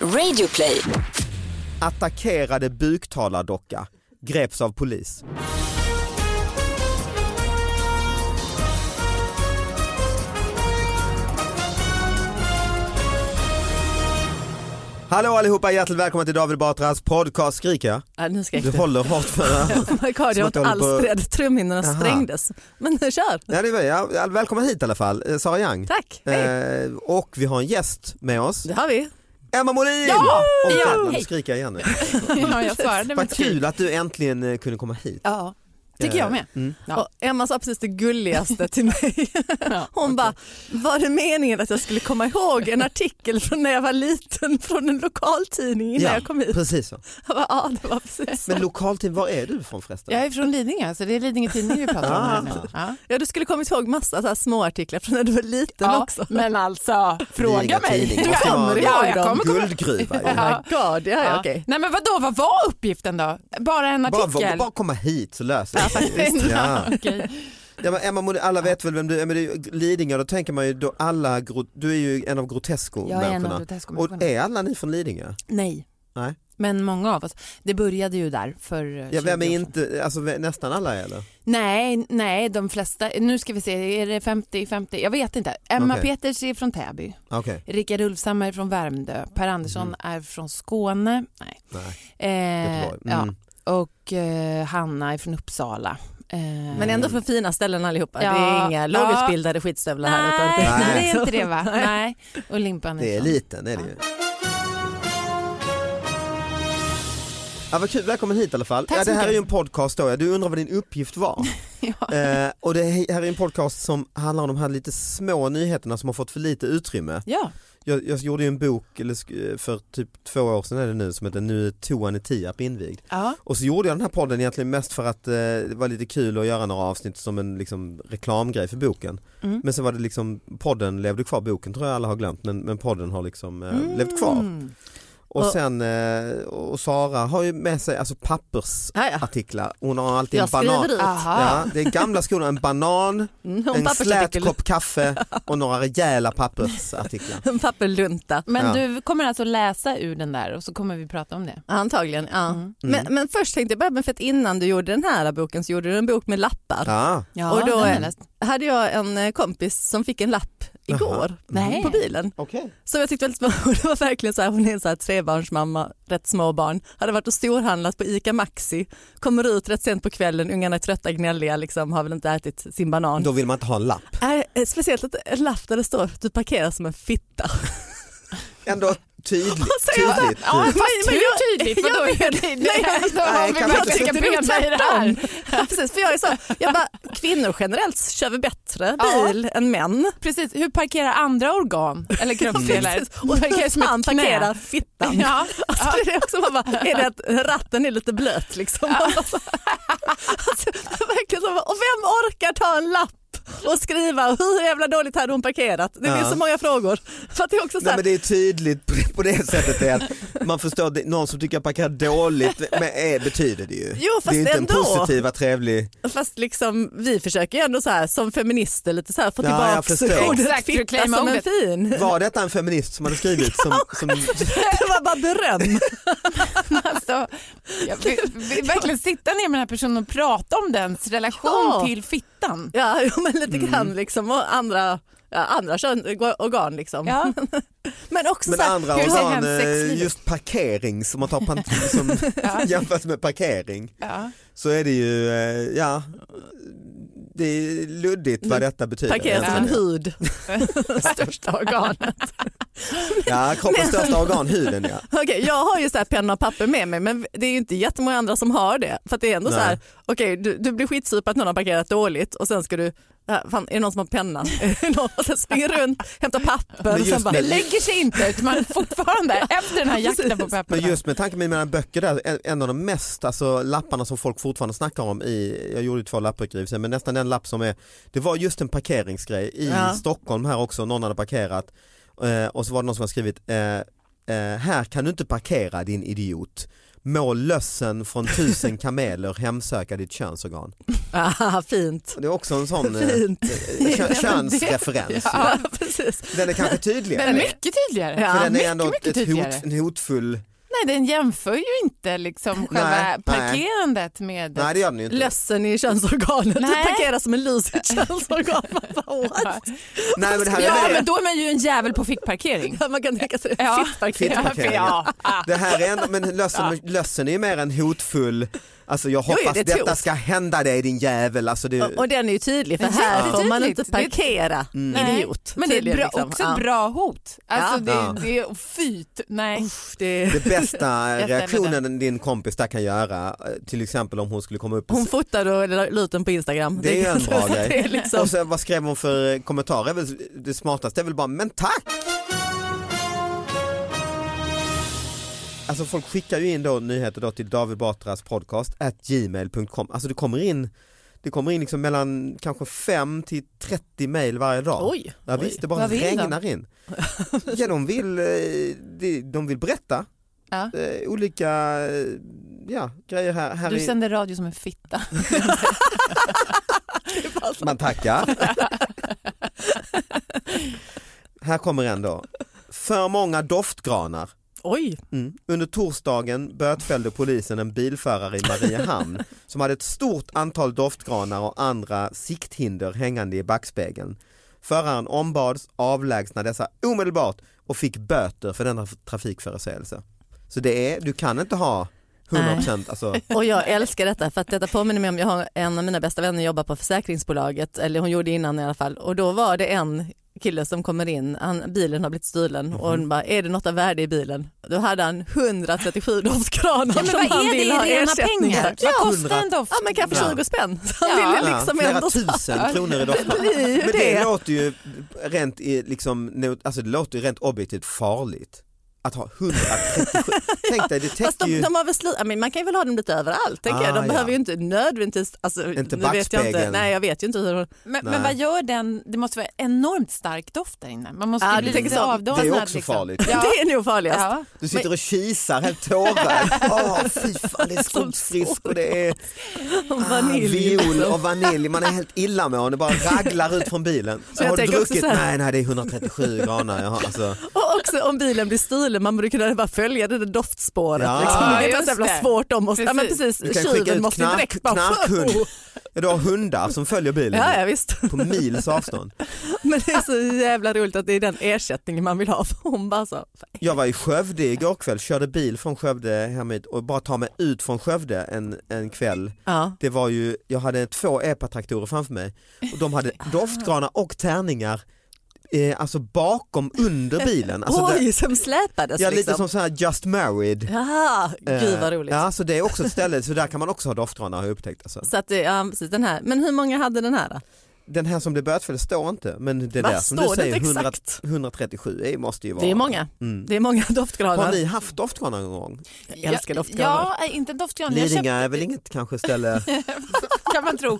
Radio play. attackerade buktalardocka, greps av polis. Hallå allihopa, hjärtligt välkomna till David Batras podcast Skriker jag? Ja, Äh, nu skrek Du håller hårt för öronen. Oh my god, Som jag att åt jag håller på- alls rädd. Trumhinnorna Aha. sprängdes. Men nu kör. Ja, det är, vi. ja, ja, välkommen hit i alla fall, eh, Sara Young. Tack. Hej. Eh, och vi har en gäst med oss, Det har vi. Emma Molin! Ja! Och Ja. jävlar, nu Hej. skriker jag igen nu. Ja, jag svarade Vad mitt i. kul att du äntligen eh, kunde komma hit. Ja, tycker jag med. Mm. Ja. Och Emma sa precis det gulligaste till mig. Ja. Hon bara, var det meningen att jag skulle komma ihåg en artikel från när jag var liten från en lokaltidning innan Ja, jag kom hit? Precis så. Jag bara, ja, det var precis. Men lokaltid, var är du ifrån förresten? Jag är från Lidingö, så det är Lidingö Tidning vi pratar om här Ah. nu. Ja. Ja, du skulle kommit ihåg massa så här små artiklar från när du var liten Ja, också. men alltså, fråga Lidingö mig. Tidning. Du Vad ska kommer man- ja, jag kommer komma Guldgruva ju. Ja. Oh my god, ja, ja. Ja. okej. Nej men vadå, vad var uppgiften då? Bara en Bara, artikel? bara komma hit så löser det sig. Visst, Ja, ja. okej. Ja, men Emma, Moder- alla vet väl vem du är, men det är ju Lidingö, då tänker man ju då alla, gro- du är ju en av Jag är en grotesco-människorna. av Grotesco-människorna. Och är alla ni från Lidingö? Nej. Nej. Men många av oss. Det började ju där för eh, Ja, 20 vem är år sedan. inte, alltså vä- nästan alla är eller? Nej, nej, de flesta. Nu ska vi se, är det 50-50? Jag vet inte. Emma Okej. Peters är från Täby. Okej, Rickard Ulfshammar är från Värmdö. Per Andersson Mhm. är från Skåne. Nej. nej, Eh, Göteborg. Mm. ja. Och eh, Hanna är från Uppsala. Eh, Men ändå från fina ställen allihopa. Det Ja. är inga lågutbildade skitstövlar här. utan Nej, det- Nej. det är inte det va? Nej. Och Limpan Det är från- liten är det ju. Ja, vad kul, välkommen hit i alla fall. Tack ja, så det här mycket. är ju en podcast då, ja. du undrar vad din uppgift var. Ja. eh, och det här är en podcast som handlar om de här lite små nyheterna som har fått för lite utrymme. ja. Jag, jag gjorde ju en bok eller, sk- för typ två år sedan är det nu som heter Nu är toan i Tierp invigd. ja. Och så gjorde jag den här podden egentligen mest för att eh, det var lite kul att göra några avsnitt som en liksom, reklamgrej för boken. Mm. Men sen var det liksom, podden levde kvar, boken tror jag alla har glömt men, men podden har liksom eh, levt kvar. Mm. Och Och- sen, eh, och Sara har ju med sig alltså Ja, ja. pappersartiklar, hon har alltid Jag en banan. skriver ut. Aha. Ja, det är gamla skolan, en banan, Mm, och en slät pappersartikel. kopp kaffe och några rejäla pappersartiklar. En papperlunta. Men Ja. du kommer alltså läsa ur den där och så kommer vi prata om det. Antagligen, ja. Mm. Men, men först tänkte jag börja med, för att innan du gjorde den här boken så gjorde du en bok med lappar. Ja. Ja, Och då- den har jag läst. Hade jag en eh, kompis som fick en lapp igår Nej. på bilen. Okej. Som jag tyckte väldigt och det var verkligen så här, hon är en så här trebarnsmamma, rätt små barn. Hade varit och storhandlat på ICA Maxi, kommer ut rätt sent på kvällen, ungarna är trötta, gnälliga, liksom, har väl inte ätit sin banan. Då vill man inte ha en lapp. Nej, eh, speciellt att en lapp där det står att du parkerar som en fitta. Ändå tydligt. säger jag tydligt, så här, tydligt. Alltså, Ja, fast men jag- hur tydligt? För då är det, det, Nej, alltså, då har nej, vi kanske inte. verkligen bena i det här. Ja, precis, för jag är så, jag bara, kvinnor generellt kör vi bättre Ja. bil än män. Precis, hur parkerar andra organ eller kroppsdelar? Och Parkerar som ett han knä. parkerar fittan. Ja. Alltså, det är, också, man bara, är det att ratten är lite alltså, blöt liksom? Man bara så- alltså, verkligen så, bara, och vem orkar ta en lapp och skriva hur jävla dåligt hade hon parkerat? Det blir Ja. så många frågor. För att det är också så Nej, här, men det är tydligt på det, på det sättet är att man förstår att det- någon som tycker jag parkerar dåligt men är, betyder det ju. Jo, fast det är inte en ändå. positiva trevlig. Fast liksom, vi försöker ju ändå så här, som feminister lite så här, få Ja, jag tillbaka förstår. ordet Exakt, fitta reclaima som en ordet. fin. Var detta en feminist som hade skrivit som, som Det var bara beröm. Alltså, jag vill, vill verkligen sitta ner med den här personen och prata om dens relation Ja. till fittan. Ja, jo, men lite grann liksom och andra, ja, andra kön, organ liksom. Ja. Men också men så här, andra hur ser organ, hens eh, sexliv ut? just parkering som man tar pan- som, jämfört med parkering Ja. så är det ju, eh, ja, det är luddigt vad detta betyder. parkerar Mm. som en egentligen. hud. Största organet. Ja, kroppens största organ, huden ja. Okej, jag har ju så här penna och papper med mig men det är ju inte jättemånga andra som har det. För att det är ändå Nej. så här, okej du, du blir skitsur på att någon har parkerat dåligt och sen ska du, äh, fan, är det någon som har pennan? Är det någon? och sen springer runt, hämtar papper och just sen bara, med- Det lägger sig inte utan man är fortfarande efter den här jakten på Men pepparna. just med tanke på mina böcker där, en- en av de mest, alltså lapparna som folk fortfarande snackar om i, jag gjorde två lapputgivningar, men nästan den lapp som är, det var just en parkeringsgrej i Ja. Stockholm här också, någon hade parkerat eh, och så var det någon som hade skrivit, eh, eh, här kan du inte parkera din idiot, må lössen från tusen kameler hemsöka ditt könsorgan. ah, fint. Det är också en sån eh, Fint. kö- könsreferens. Ja, precis. Den är kanske tydligare. Den är mycket tydligare. Ja, för den är mycket, ändå mycket ett tydligare. hot, en hotfull, Nej, den jämför ju inte liksom själva Nej, nej. parkerandet med... nej det gör den ju inte. Lössen i könsorganet, du Nej. parkerar som en lus i ett könsorgan. Man bara, what? Nej, men det här är Ja, mer- men då är man ju en jävel på fickparkering. Ja, Man kan tänka sig Ja. fittparkering. Fittparkering, Ja. Det här är ändå, men lössen, lössen är ju mer en hotfull, alltså jag Jo, jo, hoppas det är ett detta hot. ska hända dig din jävel. Alltså det, Och, och den är ju tydlig för Den är här får man jättetydligt. inte parkera. Nej. Idiot. Men det är tydligen, bra, liksom. också Ja. ett bra hot. Alltså det, Ja. det är fyt. Nej. Uff, det det bästa stämmer reaktionen din kompis där kan göra, eh, till exempel om hon skulle komma upp och Alltså- Hon fotade och la ut den på Instagram. Det är ju en bra grej. liksom. det är liksom, Och sen, vad skrev hon för kommentarer? Väl- Det smartaste är väl bara, men tack! Alltså folk skickar ju in då nyheter då till David Batras podcast at gmail.com. Alltså det kommer in det kommer in liksom mellan kanske 5 till 30 mejl varje dag. Oj, ja, oj. visst, det bara Vad vill de? regnar in. Ja, de, vill, eh, de- de vill berätta Ja. eh, olika eh, ja, grejer här. här Du i- sänder radio som en fitta. Alltså. Man tackar. Här kommer en då. För många doftgranar. oj, Mm. Under torsdagen bötfällde polisen en bilförare i Mariehamn som hade ett stort antal doftgranar och andra sikthinder hängande i backspegeln. Föraren ombads avlägsna dessa omedelbart och fick böter för denna trafikförseelse. Så det är, du kan inte ha 100% alltså, och jag älskar detta för att detta påminner mig om jag har en av mina bästa vänner jobbar på försäkringsbolaget, eller hon gjorde innan i alla fall, och då var det en kille som kommer in, han, bilen har blivit stulen och Mhm. hon bara, är det något av värde i bilen? Då hade han 137 doftkranar Ja, men som vad han är det ville i ha rena ersättning pengar? för. Vad Ja. kostar en doft? Ja men kanske Ja. 20 spänn. Så han Ja. ville liksom ja, ändå flera tusen kronor i doftgranar. bli Men det, det. låter ju rent, i, liksom, neut- alltså det låter ju rent objektivt farligt. Att ha 137, tänk dig det Fast täcker de, ju, de har väl sli- ja, men man kan ju väl ha dem lite överallt. Tänker Ah, jag. De ja. behöver ju inte nödvändigtvis... Alltså, Inte nu vet jag inte. backspegeln. Nej jag vet ju inte hur Men, Nej. men vad gör den? Det måste vara enormt stark doft där inne. Man måste Ja, ju du bli tänker lite så. avdomnad. Det är också liksom. farligt. Ja. Det är nog farligast. Ja. du sitter och kisar helt tårögd. Åh fy fan det är skumfriskt och det är ah, Vanilj. liksom. viol och vanilj, man är helt illamående, bara raglar ut från bilen. Så jag har du tänker också druckit, så här- nej nej det är 137 granar, jaha, alltså. Och också om bilen blir stulen, man borde kunna bara följa det där doftspåret. Ja. Liksom. Ja, Man vet just inte hur jävla det. svårt de måste... Ja men Precis. Du precis, kan skicka tjuven ut måste ju knark, direkt bara... knarkhund, Ja, du har hundar som följer bilen Ja, ja visst. på mils avstånd. Men det är så jävla roligt att det är den ersättningen man vill ha. För hon bara så, Jag var i Skövde igår kväll, körde bil från Skövde hem hit och bara ta mig ut från Skövde en, en kväll. ja. Det var ju, jag hade två epatraktorer framför mig och de hade doftgranar och tärningar eh, alltså bakom under bilen. Alltså där- Oj, som släpades ja, lite liksom. som så här just married. Ja, gud vad Eh, roligt. Ja, så det är också ett ställe, så där kan man också ha doftgranar har jag upptäckt. Alltså. Så att, det- ja, precis, den här. Men hur många hade den här då? Den här som blev bötfälld står inte men det Va, där som du står det säger inte 100, exakt? 137 är- måste ju vara. Det är många. Mm. Det är många Har doftgranar. ni haft doftgranar någon gång? Jag älskar doftgranar. Ja, eh, inte en doftgran. Jag Lidingö köpte, är väl inget kanske ställe, kan man tro.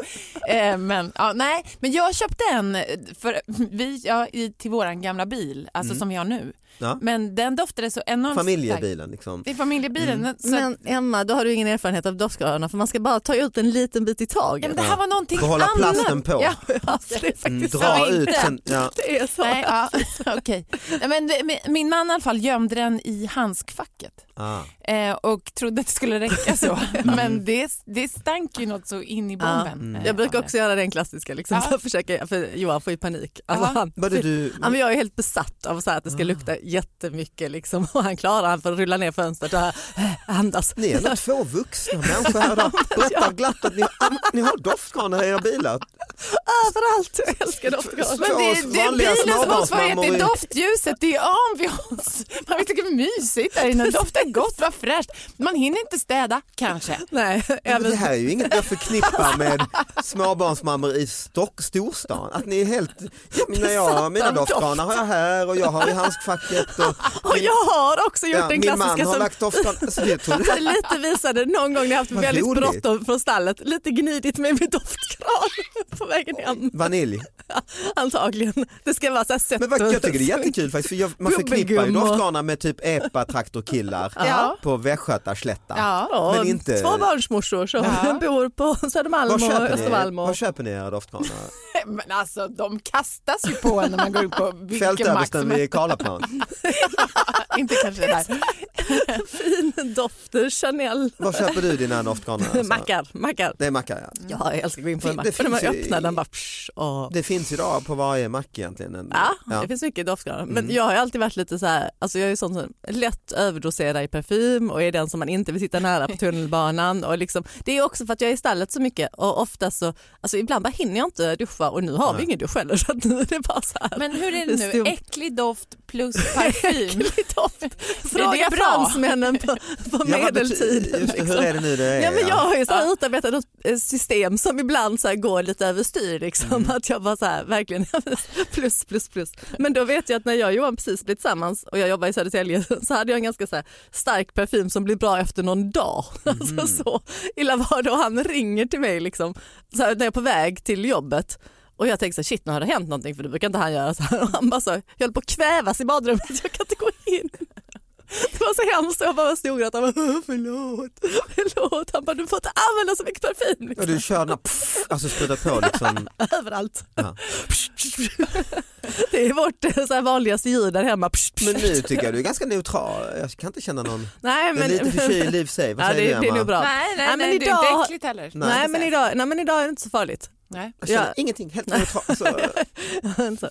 Eh, men, ja, nej. men jag köpte en eh, för, vi, ja, i, till våran gamla bil, alltså som vi har nu. Mm. Ja. Men den doftade så enormt starkt. familjebilen liksom. Det är familjebilen. Så, Men Emma, då har du ingen erfarenhet av doftgranar för man ska bara ta ut en liten bit i ja, men taget. det här var någonting Får hålla annat. plasten på. Ja, Alltså, det är Mm, faktiskt dra så ut inte. sen, ja. det är så. Nej, ja, okej. Nej, men, det- min man i alla fall gömde den i handskfacket ah. eh, och trodde att det skulle räcka så. Mm. Men det, det stank ju något så in i bomben. eh, Jag brukar av det. också göra den klassiska, liksom, Ja. så försöker, för Johan får ju panik. Alltså, Ja. han, Både du, Ah. Ja, men jag är helt besatt av så här att det ska lukta jättemycket liksom, och han klarar han får rulla ner fönstret och eh, andas. ni är ändå två vuxna människor här idag. Berättar glatt att ni, an- ni har doftgranar i era bilar. Överallt, jag älskar doftgranar. Men det, För oss det är vanliga bilens motsvarighet småbarnsmammor till i- doftljuset. Det är ambiance. Man vet inte hur mysigt där inne. Doftar gott, vad fräscht. Man hinner inte städa, kanske. Nej, Men Det även, här är ju inget jag förknippar med småbarnsmammor i stock, storstan. Att ni är helt, ja, men när jag, mina av doft. doftgranar har jag här och jag har i handskfacket. Och, och jag har också gjort ja, den min man klassiska har som lagt doftgranar. Så det tror det lite visade någon gång när jag haft Vad väldigt roligt. bråttom från stallet, lite gnidigt med min doftgran på vägen hem. Vanilj. Antagligen. Det ska vara så här sött Men vad, och- jag tycker det är jättekul faktiskt för jag, man förknippar ju Gubbegumma. doftgranar med typ epa-traktorkillar Ja. på västgötaslättar. Ja, Men inte- Tvåbarnsmorsor som Ja. bor på Södermalm Var och köper, ni, Östermalm. var Och... köper ni era doftgranar? Men alltså, de kastas ju på en när man går ut på vilken mack Fältöversten som vid helst. Karlaplan. Inte kanske där. Fin dofter, Chanel. Var köper du dina doftgranar? alltså? Mackar, mackar. Det är mackar ja. Ja, jag älskar att gå in på en Det mack. För när man finns ju- öppnar den bara... Psh, och... Det finns idag på varje mack egentligen. En, Ja, det finns mycket doftgranar. Men Mm. jag har ju alltid varit lite så här, alltså jag är ju sån som lätt överdoserar i parfym och är den som man inte vill sitta nära på tunnelbanan. Och liksom, det är också för att jag är i stallet så mycket och ofta så, alltså ibland bara hinner jag inte duscha och nu har vi ingen dusch heller så att nu är det bara så här. Men hur är det nu? stumt. Äcklig doft plus parfym. Äcklig doft. Fråga bra? fransmännen på, på Ja, vad bety- medeltiden. liksom. Just, det, hur är det nu det är? Ja, men jag ja. har ju så här utarbetat ett eh, system som ibland så här går lite överstyr. Liksom, Att jag bara så här, verkligen plus, plus, plus. Men då vet jag att när jag och Johan precis blev tillsammans och jag jobbar i Södertälje så hade jag en ganska så här, stark parfym som blir bra efter någon dag. Alltså, så illa var det och han ringer till mig liksom, så här, när jag är på väg till jobbet. Och jag tänker så här, shit nu har det hänt någonting för det brukar inte han göra. Så här, och han bara så, här, jag höll på att kvävas i badrummet, jag kan inte gå in. Det var så hemskt och jag bara storgrät. Han bara "Åh, förlåt, förlåt. Han bara du får inte använda så mycket parfym Och liksom, du kör den här, pff, alltså sprutar på liksom. överallt. Ja. Det är vårt eh, så här, vanligaste ljud där hemma. Psh, psh. Men nu tycker jag du är ganska neutral. Jag kan inte känna någon. nej, Men, lite förkyld i och för sig. Vad ja, säger det, du det är Emma? nog bra. Nej, nej, Ja, men nej, det är idag- inte äckligt heller. Nej. Nej, men idag, nej men idag är det inte så farligt. Nej. Jag känner Ja. ingenting, helt neutral. Alltså, Alltså.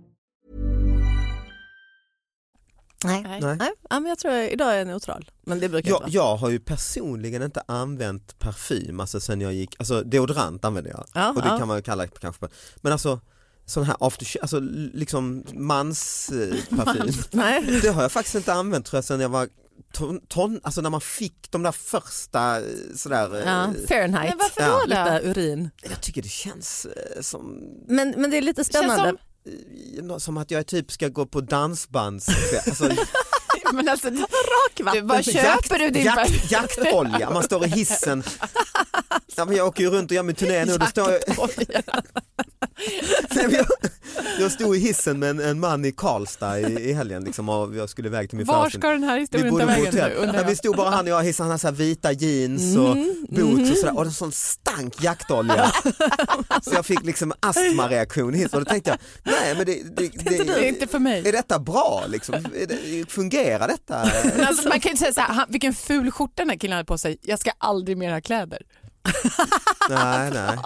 Nej. Nej. Nej. Ja, men jag tror jag, idag är jag neutral. Men det brukar jag, inte jag har ju personligen inte använt parfym, alltså sen jag gick, alltså deodorant använder jag. Ja, och det ja. kan man ju kalla kanske, men alltså sån här after, alltså liksom mans eh, parfym. vara. Nej. Det har jag faktiskt inte använt tror jag sen jag var ton, ton alltså när man fick de där första eh, sådär, eh, Ja, Fahrenheit. Men varför Ja. då? Lite urin. jag tycker det känns eh, som, Men, men det är lite spännande. som- eh, nå- som att jag typ ska gå på dansbands, alltså, Men alltså, Rakvatten. du, vad köper du din jakt, jaksolja, man står i hissen Ja, men jag åker ju runt och gör min turné nu. och Då står jag... Nej, men jag, jag stod i hissen med en, en man i Karlstad i, i helgen liksom, och jag skulle iväg till min Var föreställning. ska den här Vi historien ta bodde på vägen hotell. nu? undrar Nej, vi jag. stod bara han och jag i hissen, han hade så här vita jeans och Mhm, boots mhm. och sådär och en sån stank jaktolja. så jag fick liksom astmareaktion i hissen och då tänkte jag, nej men det, det, det, inte du. Det är inte för mig. Är detta bra liksom? Är det, fungerar detta? Men alltså, man kan ju inte säga så här, han, vilken ful skjorta den här killen hade på sig, jag ska aldrig mer ha kläder. nej, Alltså, nej.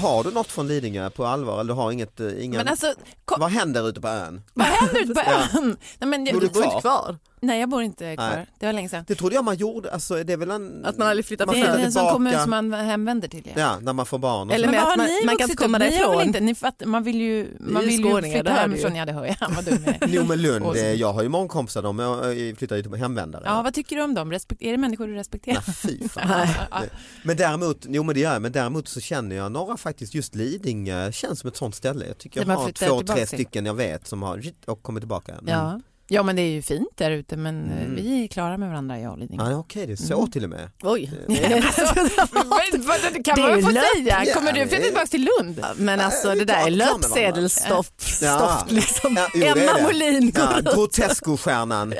Har du något från Lidingö på allvar eller du har inget, eh, ingen... Men alltså, Vad händer ute på ön? vad händer ute på Ja. ön? Nej, men jag, Bor du kvar? Nej, jag bor inte kvar. Nej. Det var länge sedan. Det trodde jag man gjorde, alltså det är väl en... Att man aldrig flyttar man det flyttar är en sån tillbaka. kommun som man hemvänder till. Ja. Ja, när man får barn. och Eller så. med Men vad att man, har ni man kan vuxit inte komma upp? Ni har väl därifrån. inte, ni fattar, man vill ju, Vi är man ju vill ju skåningar, flytta det hör du hemifrån. ju. Ja, det hör jag. Vad dum jag är. Jo men Lund, Och så- eh, jag har ju många kompisar de eh, flyttar ju till hemvändare. Ja, vad tycker du om dem? Respekt, är det människor du respekterar? Fy fan. Det- Men däremot, jo men det gör jag, men däremot så känner jag några faktiskt, just Lidingö känns som ett sånt ställe. Jag tycker Där jag man har flyttar två, tillbaka tre till. stycken jag vet som har rit- och kommit tillbaka. Mm. Ja. ja, men det är ju fint där ute, men eh, Mm. vi är klara med varandra, jag och Lidingö. Ja, Okej, det är så Mm. till och med. Oj. Alltså, alltså, Men vad- det kan Det är man ju få löp. säga? Kommer Ja, du flytta det- tillbaka till Lund? Men alltså det där är löpsedelsstoft. Ja. stoft liksom. Ja, jo, det är Emma det. Molin går Ja, runt. Grotesco-stjärnan.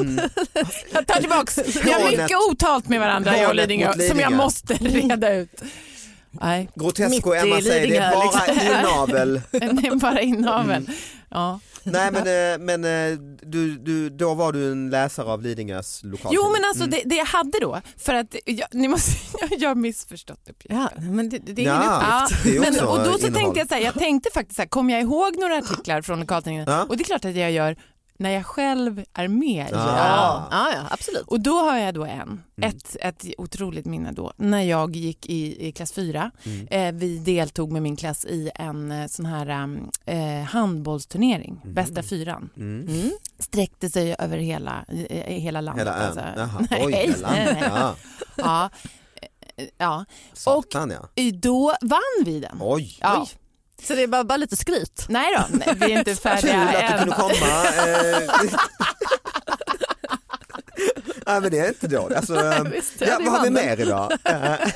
Mm. Jag tar tillbaka. Vi har Lånet- mycket otalt med varandra, jag och Lånet Lidingö, mot som jag Lidingö. måste reda ut. Nej, Grotesco Mitt i Emma säger, det är Lidingö, bara Mm. inavel. liksom. det är bara inaveln. Ja. Nej men, eh, men eh, du, du, då var du en läsare av Lidingös lokaltidning. Jo, men Mm. alltså det, det jag hade då, för att jag, ni måste, jag har missförstått uppgiften. Ja, men det, det är ingen Ja. uppgift. Ja, det är men, också och då så innehåll. tänkte jag så här, jag tänkte faktiskt så här, kommer jag ihåg några artiklar från lokaltidningen? Ja. Och det är klart att jag gör när jag själv är med. i Ja. Mm. det. Ah. Ja, ja, ja, absolut. Och då har jag då en, ett, ett otroligt minne då, när jag gick i, i klass 4. Mm. Eh, vi deltog med min klass i en eh, sån här um, eh, handbollsturnering, bästa fyran. Mm. Sträckte sig över hela, eh, hela landet. Hela ön. alltså. Jaha, Nej, oj, hela nej, ön. nej. Ja, Ja. Eh, Ja. Och satan ja. då vann vi den. Oj. Ja. Oj. Så det är bara, bara lite skryt. Nej då, nej, vi är inte Kul färdiga att du än. kunde komma. eh. Nej men det är inte dåligt. Alltså, eh, visst, ja, det vad har vi vann den. mer idag? Eh,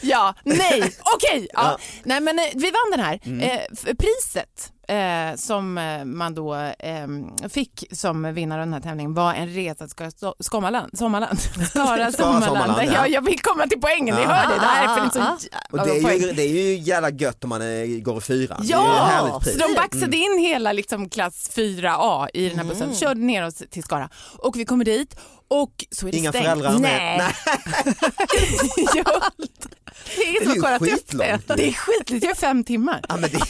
Ja, nej, okej. Ja. Nej men eh, vi vann den här. Mm. Eh, f- priset eh, som eh, man då eh, fick som vinnare av den här tävlingen var en resa till Skara- Sommarland. Sommarland. Skara Sommarland, Sommarland. ja. Ja, jag vill komma till poängen, ni Ja. hör det. Det här är för Ah, ah, liksom, Och det, är ju, det är ju jävla gött om man eh, går i fyran. det är ju ett Ja, härligt pris. Mm. så de baxade in hela liksom klass 4A i den här bussen, Mm. körde ner oss till Skara och vi kommer dit och så är det Inga stängt. föräldrar med. Nej. Jo. det är Det är så ju Skara skitlångt. Det är skitlångt, det är fem timmar. Ja, men det,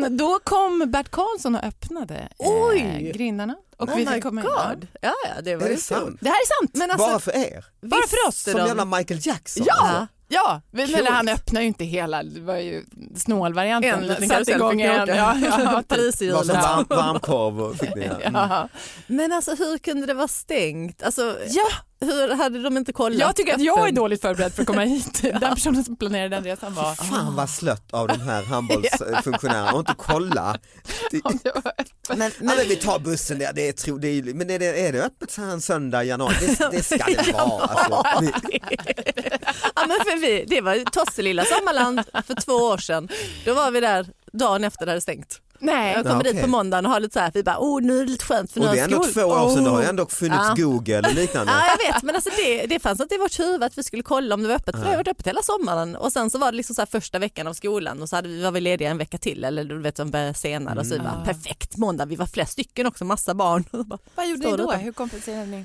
Men då kom Bert Karlsson och öppnade Oj. Eh, grindarna. Och Oh my fick komma in. god. Ja, ja, det var är det ju kul. sant? Det här är sant. Men alltså, bara för er? bara för oss. Som jävla Michael Jackson. Ja, alltså. ja. Men Coolt. han öppnar ju inte hela, det var ju snålvarianten. En liten Satte karusell igång fick ni en. åka. Ja, ja, Paris i Var som julen. varm, varmkorv och fick ni. ja. Mm. ja. Men alltså hur kunde det vara stängt? Alltså, ja, Hur hade de inte kollat? jag tycker att jag är appen? dåligt förberedd för att komma hit. Den personen som planerade den resan var... Mm. Fan vad slött av de här handbollsfunktionärerna och inte kolla. Det, Men, Ja, men, men vi tar bussen, det, det är, tro, det är, men är det, är det öppet så här en söndag i januari? Det, det ska det vara. Alltså. Ni- ja, men för vi, det var ju Tosselilla Sommarland för två år sedan. Då var vi där dagen efter det hade stängt. Nej. Jag kommer Ja, dit Ah, okej. på måndagen och har lite så här, vi bara, oh nu är det lite skönt för nu Och har det är ändå skol- två år sedan, det har ju Oh. ändå funnits Ja. Google och liknande. Ja, jag vet, men alltså det, det fanns inte i vårt huvud att vi skulle kolla om det var öppet, för det har varit öppet hela sommaren. Och sen så var det liksom så här första veckan av skolan och så hade vi, var vi lediga en vecka till, eller du vet, de började senare. Och så vi Mm. bara, perfekt måndag, vi var flera stycken också, massa barn. Och bara, Vad gjorde ni Står det då? utan- Hur kompenserade ni?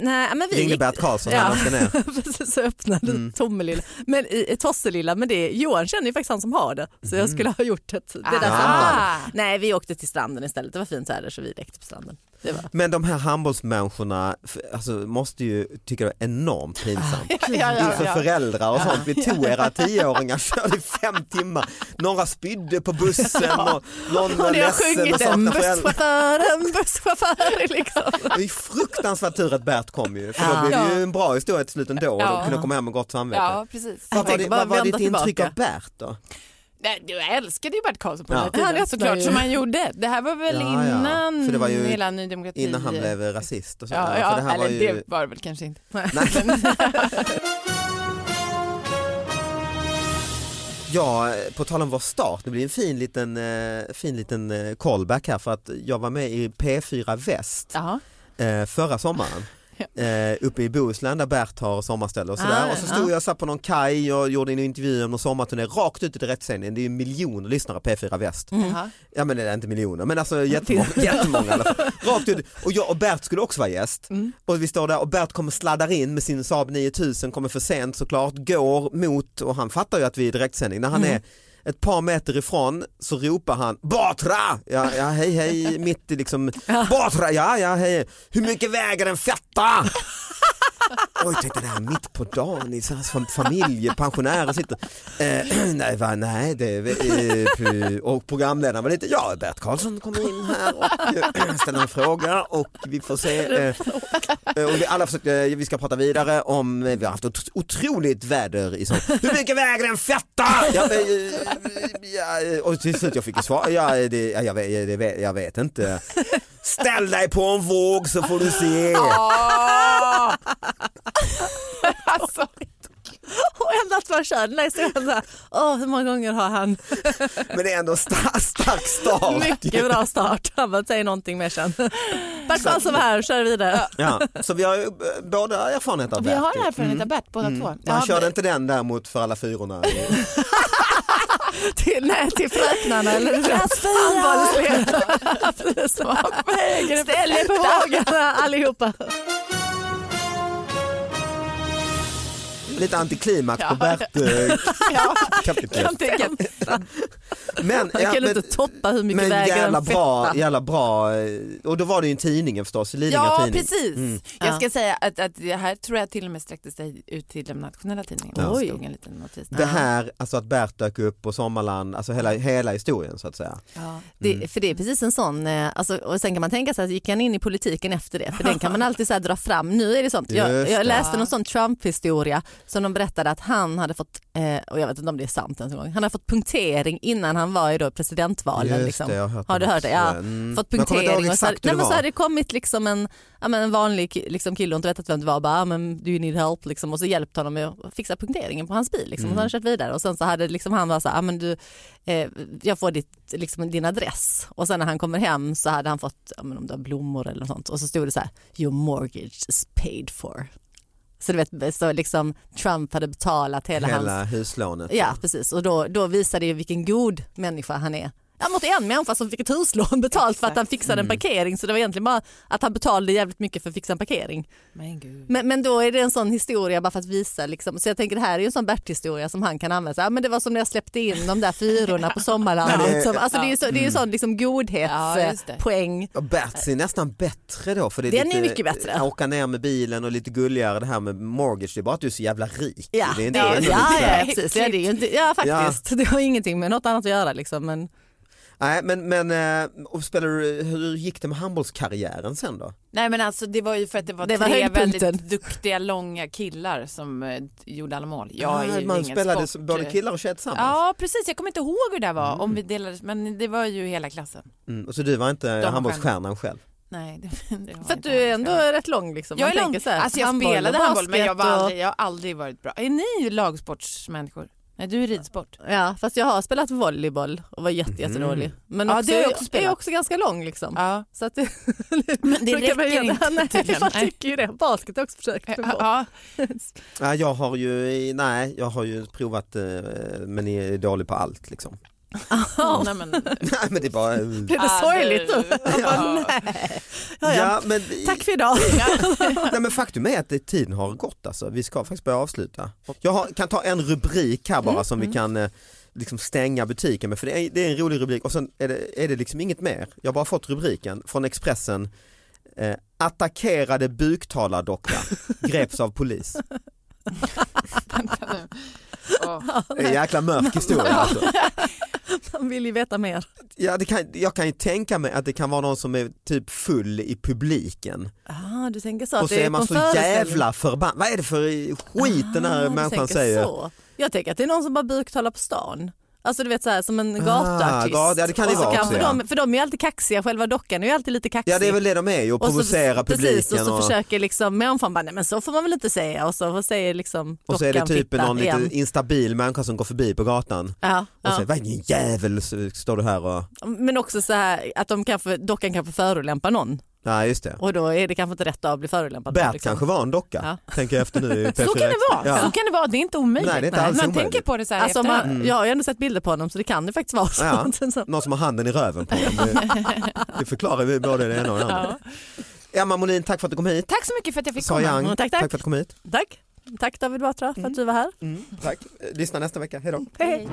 Nej, men vi Ringde gick- Bert Karlsson Ja. när han åkte ner. Precis, så öppnade Mm. Tommelilla. Men i, i Tosselilla, men det, Johan känner ju faktiskt han som har det. Så Mm. jag skulle ha gjort det, det där Ah. samtalet. Nej, vi åkte till stranden istället. Det var fint väder så vi lekte på stranden. Det var... Men de här handbollsmänniskorna f- alltså, måste ju tycka det är enormt pinsamt. Ja, ja, ja. Inför föräldrar och sånt. Vi tog era tioåringar körde i fem timmar. Några spydde på bussen och någon var Och ni har ledsen och sjungit en saknade föräldrar. busschaufför, en busschaufför liksom. Det är fruktansvärt tur att Bert kom ju. För då blev det ju en bra historia till slut ändå och Ja. de kunde komma hem med gott samvete. Ja, precis. Vad var, tänker det, bara vad var ditt vända intryck tillbaka. av Bert då? Nej, Jag älskade ju Bert Karlsson på Ja. den här tiden Han älskar såklart ju. som han gjorde. Det här var väl Ja, ja. innan För det var ju hela Ny Demokrati. Innan han blev rasist och så. Ja, för det ja här eller var ju... det var det väl kanske inte. Ja, på tal om vår start, det blir en fin liten, eh, fin liten eh, callback här för att jag var med i P4 Väst Jaha. eh, förra sommaren. Eh, uppe i Bohuslän där Bert har sommarställe och sådär. Ah, och så stod ja. jag satt på någon kaj och gjorde en intervju om någon sommarturné rakt ut i direktsändningen. Det är ju miljoner lyssnare på P4 Väst. Mm. Jaha. Ja men det är inte miljoner men alltså jättemånga, jättemånga i alla fall. Rakt ut. Och jag och Bert skulle också vara gäst. Mm. Och vi står där och Bert kommer sladdar in med sin Saab 9000, kommer för sent såklart, går mot och han fattar ju att vi är i direktsändning. När han Mm. är ett par meter ifrån så ropar han Batra! Ja, ja hej hej, mitt i liksom Batra, ja ja hej. Hur mycket väger en fetta? Oj, tänkte det här mitt på dagen i så här som familj, pensionärer sitter. Eh, nej, va, nej det, eh, pu- och programledaren var lite, ja Bert Karlsson kommer in här och eh, ställer en fråga och vi får se. Eh, eh, och vi alla försökte, eh, vi ska prata vidare om, eh, vi har haft ett otroligt väder i sommar. Hur mycket väger en fetta? Ja, men, eh, ja, eh, och till slut jag fick ju svar, ja, eh, det, ja, jag, vet- det, vet- jag vet inte. Ställ dig på en våg så får du se. Ah! alltså. Och ända två kör. Nej, så jag bara, åh, hur många gånger har han? Men det är ändå stark, stark start. Mycket bra start. Han bara, säg någonting mer sen. Bert Karlsson var här, kör vidare. Ja, så vi har ju eh, båda erfarenhet av Vi Bert. har ju. erfarenhet av Mm. Bert båda Mm. två. Men Ja, Han körde men- inte den däremot för alla fyrorna. till, nej, till fröknarna eller hur? Klass fyra! Handbollslekar. Precis, vad väger det? Ställ er på vågarna allihopa. Lite antiklimax på Ja. Bert eh, Ja. kapitlet. Men, Han kan inte toppa hur mycket men väger en jävla bra, fetta. jävla bra, eh, och då var det ju en tidningen förstås, Lidingö Ja, tidning. precis. Mm. Jag ska säga att, att det här tror jag till och med sträckte sig ut till de nationella tidningarna. Ja. Det stod en liten notis. Det här, alltså att Bert dök upp och Sommarland, alltså hela, hela historien så att säga. Mm. Det, för det är precis en sån, eh, alltså, och sen kan man tänka sig att gick han in i politiken efter det? För den kan man alltid så här dra fram. Nu är det sånt. Jag, Just det. jag läste Ja. någon sån Trump-historia som de berättade att han hade fått, eh, och jag vet inte om det är sant ens en gång, han har fått punktering innan han var i då presidentvalen. Just liksom. det, jag har hört du det hört det? Ja. också. Mm. Fått Men jag kommer inte ihåg punktering. Och så, hade- exakt hur nej, det men så var. hade det kommit liksom en, ja, men en vanlig ki- liksom, kille och inte vetat vem det var och bara, ja, men do you need help liksom. Och så hjälpte honom med att fixa punkteringen på hans bil liksom. Mm. Och så hade han kört vidare och sen så hade liksom han bara så här, ja, men du, eh, jag får ditt, liksom, din adress. Och sen när han kommer hem så hade han fått, ja, men om det var blommor eller något sånt. Och så stod det så här, your mortgage is paid for. Så du vet, så liksom Trump hade betalat hela, hela hans... huslånet. Ja, precis. Och då, då visade det ju vilken god människa han är. Ja, mot en människa som fick ett huslån betalt för att han fixade en Mm. parkering. Så det var egentligen bara att han betalade jävligt mycket för att fixa en parkering. Men gud. Men, men då är det en sån historia bara för att visa. Liksom. Så jag tänker det här är ju en sån Bert-historia som han kan använda. Så, Ja, men det var som när jag släppte in de där fyrorna på Ja, sommarlandet. det- Som, alltså, det är ju så, det är ju Mm. sån liksom, Ja, just det. godhetspoäng. Och Berts är nästan bättre då. För det är Den är lite, mycket bättre. Åka ner med bilen och lite gulligare det här med mortgage, det är bara att du är så jävla rik. Ja, det är det, inte- ja, ändå lite så här. ja, precis. Ja, det är ju inte, ja, faktiskt. Det har ingenting med något annat att göra. Liksom, men... Nej, men, men eh, och spelar du, hur gick det med handbollskarriären sen då? Nej men alltså det var ju för att det var, Det var tre höjdpunkten. väldigt duktiga långa killar som eh, gjorde alla mål. Jag Ah, är ju man ingen spelade sport. både killar och tjejer Mm. tillsammans? Ja precis, jag kommer inte ihåg hur det var om vi delades men det var ju hela klassen. Mm, och så du var inte De var handbollsstjärnan själv? Nej, det, det var För att du är ändå rätt lång. Liksom. jag Man är lång. tänker så här, alltså jag handboll och spelade handboll men basket jag, var och- aldrig, jag har aldrig varit bra. Är ni lagsportsmänniskor? Nej du är ridsport. Ja, fast jag har spelat volleyboll och var jätte, Mm. jättedålig. Men Ja, också, det har jag jag också är spelat. också ganska lång liksom. Ja. Så att det, Men det då kan man räcker göra- inte Nej, tydligen. man Nej. tycker ju det. Basket har jag också försökt mig på. Ja. Ja, jag har ju, nej, jag har ju provat eh, men är dålig på allt liksom. Nej, men, nej men det är bara... eh, Blev det sorgligt nu? Jag bara, nej. Ja, ja. Ja, men, Tack för idag. nej, men faktum är att det- tiden har gått alltså. Vi ska faktiskt börja avsluta. Jag har, kan ta en rubrik här bara som vi kan eh, liksom stänga butiken med. För det är, det är en rolig rubrik och sen är det, är det liksom inget mer. Jag har bara fått rubriken från Expressen. Eh, attackerade buktalardocka greps av polis. åh. Det är en jäkla mörk historia alltså. Man vill ju veta mer. Ja, det kan, jag kan ju tänka mig att det kan vara någon som är typ full i publiken Ah, du tänker så att och så det är man på så föreställning. jävla förbannad. Vad är det för skit den här Ah, du människan tänker säger? Så. Jag tänker att det är någon som bara buktalar på stan Alltså du vet så här, som en gatuartist. Ah, ja, det- det kan det Och så vara också, för, ja. de, för de är ju alltid kaxiga, själva dockan är ju alltid lite kaxig. Ja det är väl det de är ju, att provocera så, publiken. Precis, och så försöker liksom, men omfamn bara, nej men så får man väl inte säga och så säger liksom dockan och så är det typ fitta någon igen. lite instabil människa som går förbi på gatan Ja, och ja. säger, vad är din jävel, så står du här och, Men också så här att de kanske, dockan kanske förolämpar någon nej just det. och då är det kanske inte rätt att bli förolämpad. Bert liksom. kanske var en docka, tänker jag efter nu. i Så P4 kan det Extra. vara, så kan det vara, det är inte omöjligt. Nej, det är inte alls man omöjligt. tänker på det så här Alltså, i efterhand. man, jag har ju ändå sett bilder på honom så det kan ju faktiskt vara så. Ja, någon som har handen i röven på honom. Det, det förklarar vi både det ena och det andra. Emma Molin, tack för att du kom hit. Tack så mycket för att jag fick Sa komma. Yang, Mm, tack, för att du kom hit. Tack. Tack David Batra för Mm. att du var här. Tack. Lyssna nästa vecka, hej då. Hej.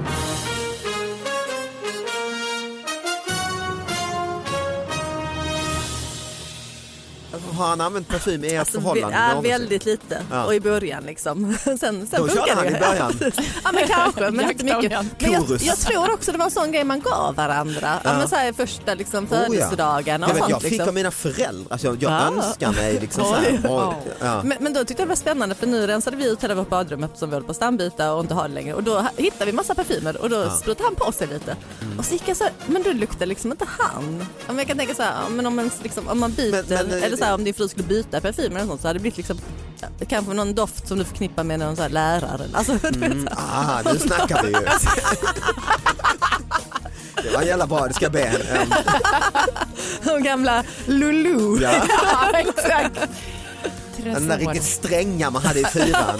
Alltså, Har han använt parfym i ert förhållande? Ja, någonsin? Alltså, väldigt lite Ja. och i början liksom. Sen, sen Då körde funkar han det. i början. Ja, precis. ja men kanske, men inte mycket. Men jag, Chorus. jag tror också det var en sån grej man gav varandra. Ja. Ja. men så här, första liksom, Oh, ja. födelsedagarna jag, och vet, sånt. jag fick liksom. av mina föräldrar, alltså, jag, jag Ja. önskar mig liksom så här. Ja. Oj, ja. Men, men då tyckte jag det var spännande för nu rensade vi ut hela vårt badrum eftersom vi höll på att stambyta och inte ha det längre och då ha- hittade vi massa parfymer och då Ja. Mm. sprutade han på sig lite. Och så gick jag så här, men då luktar liksom inte han. Ja, Men jag kan tänka så här, ja, men om, ens, liksom, om man byter, Men- men- eller så här, om din fru skulle byta parfymer eller sånt så hade det blivit liksom ja, kanske någon doft som du förknippar med någon så här lärare. Alltså, du vet, så här. Ah, nu snackar vi ju. Det var jävla bra, det ska jag be henne. om. de gamla Lulu. Ja. Ja, exakt. Den där Tresor. riktigt stränga man hade i fyran.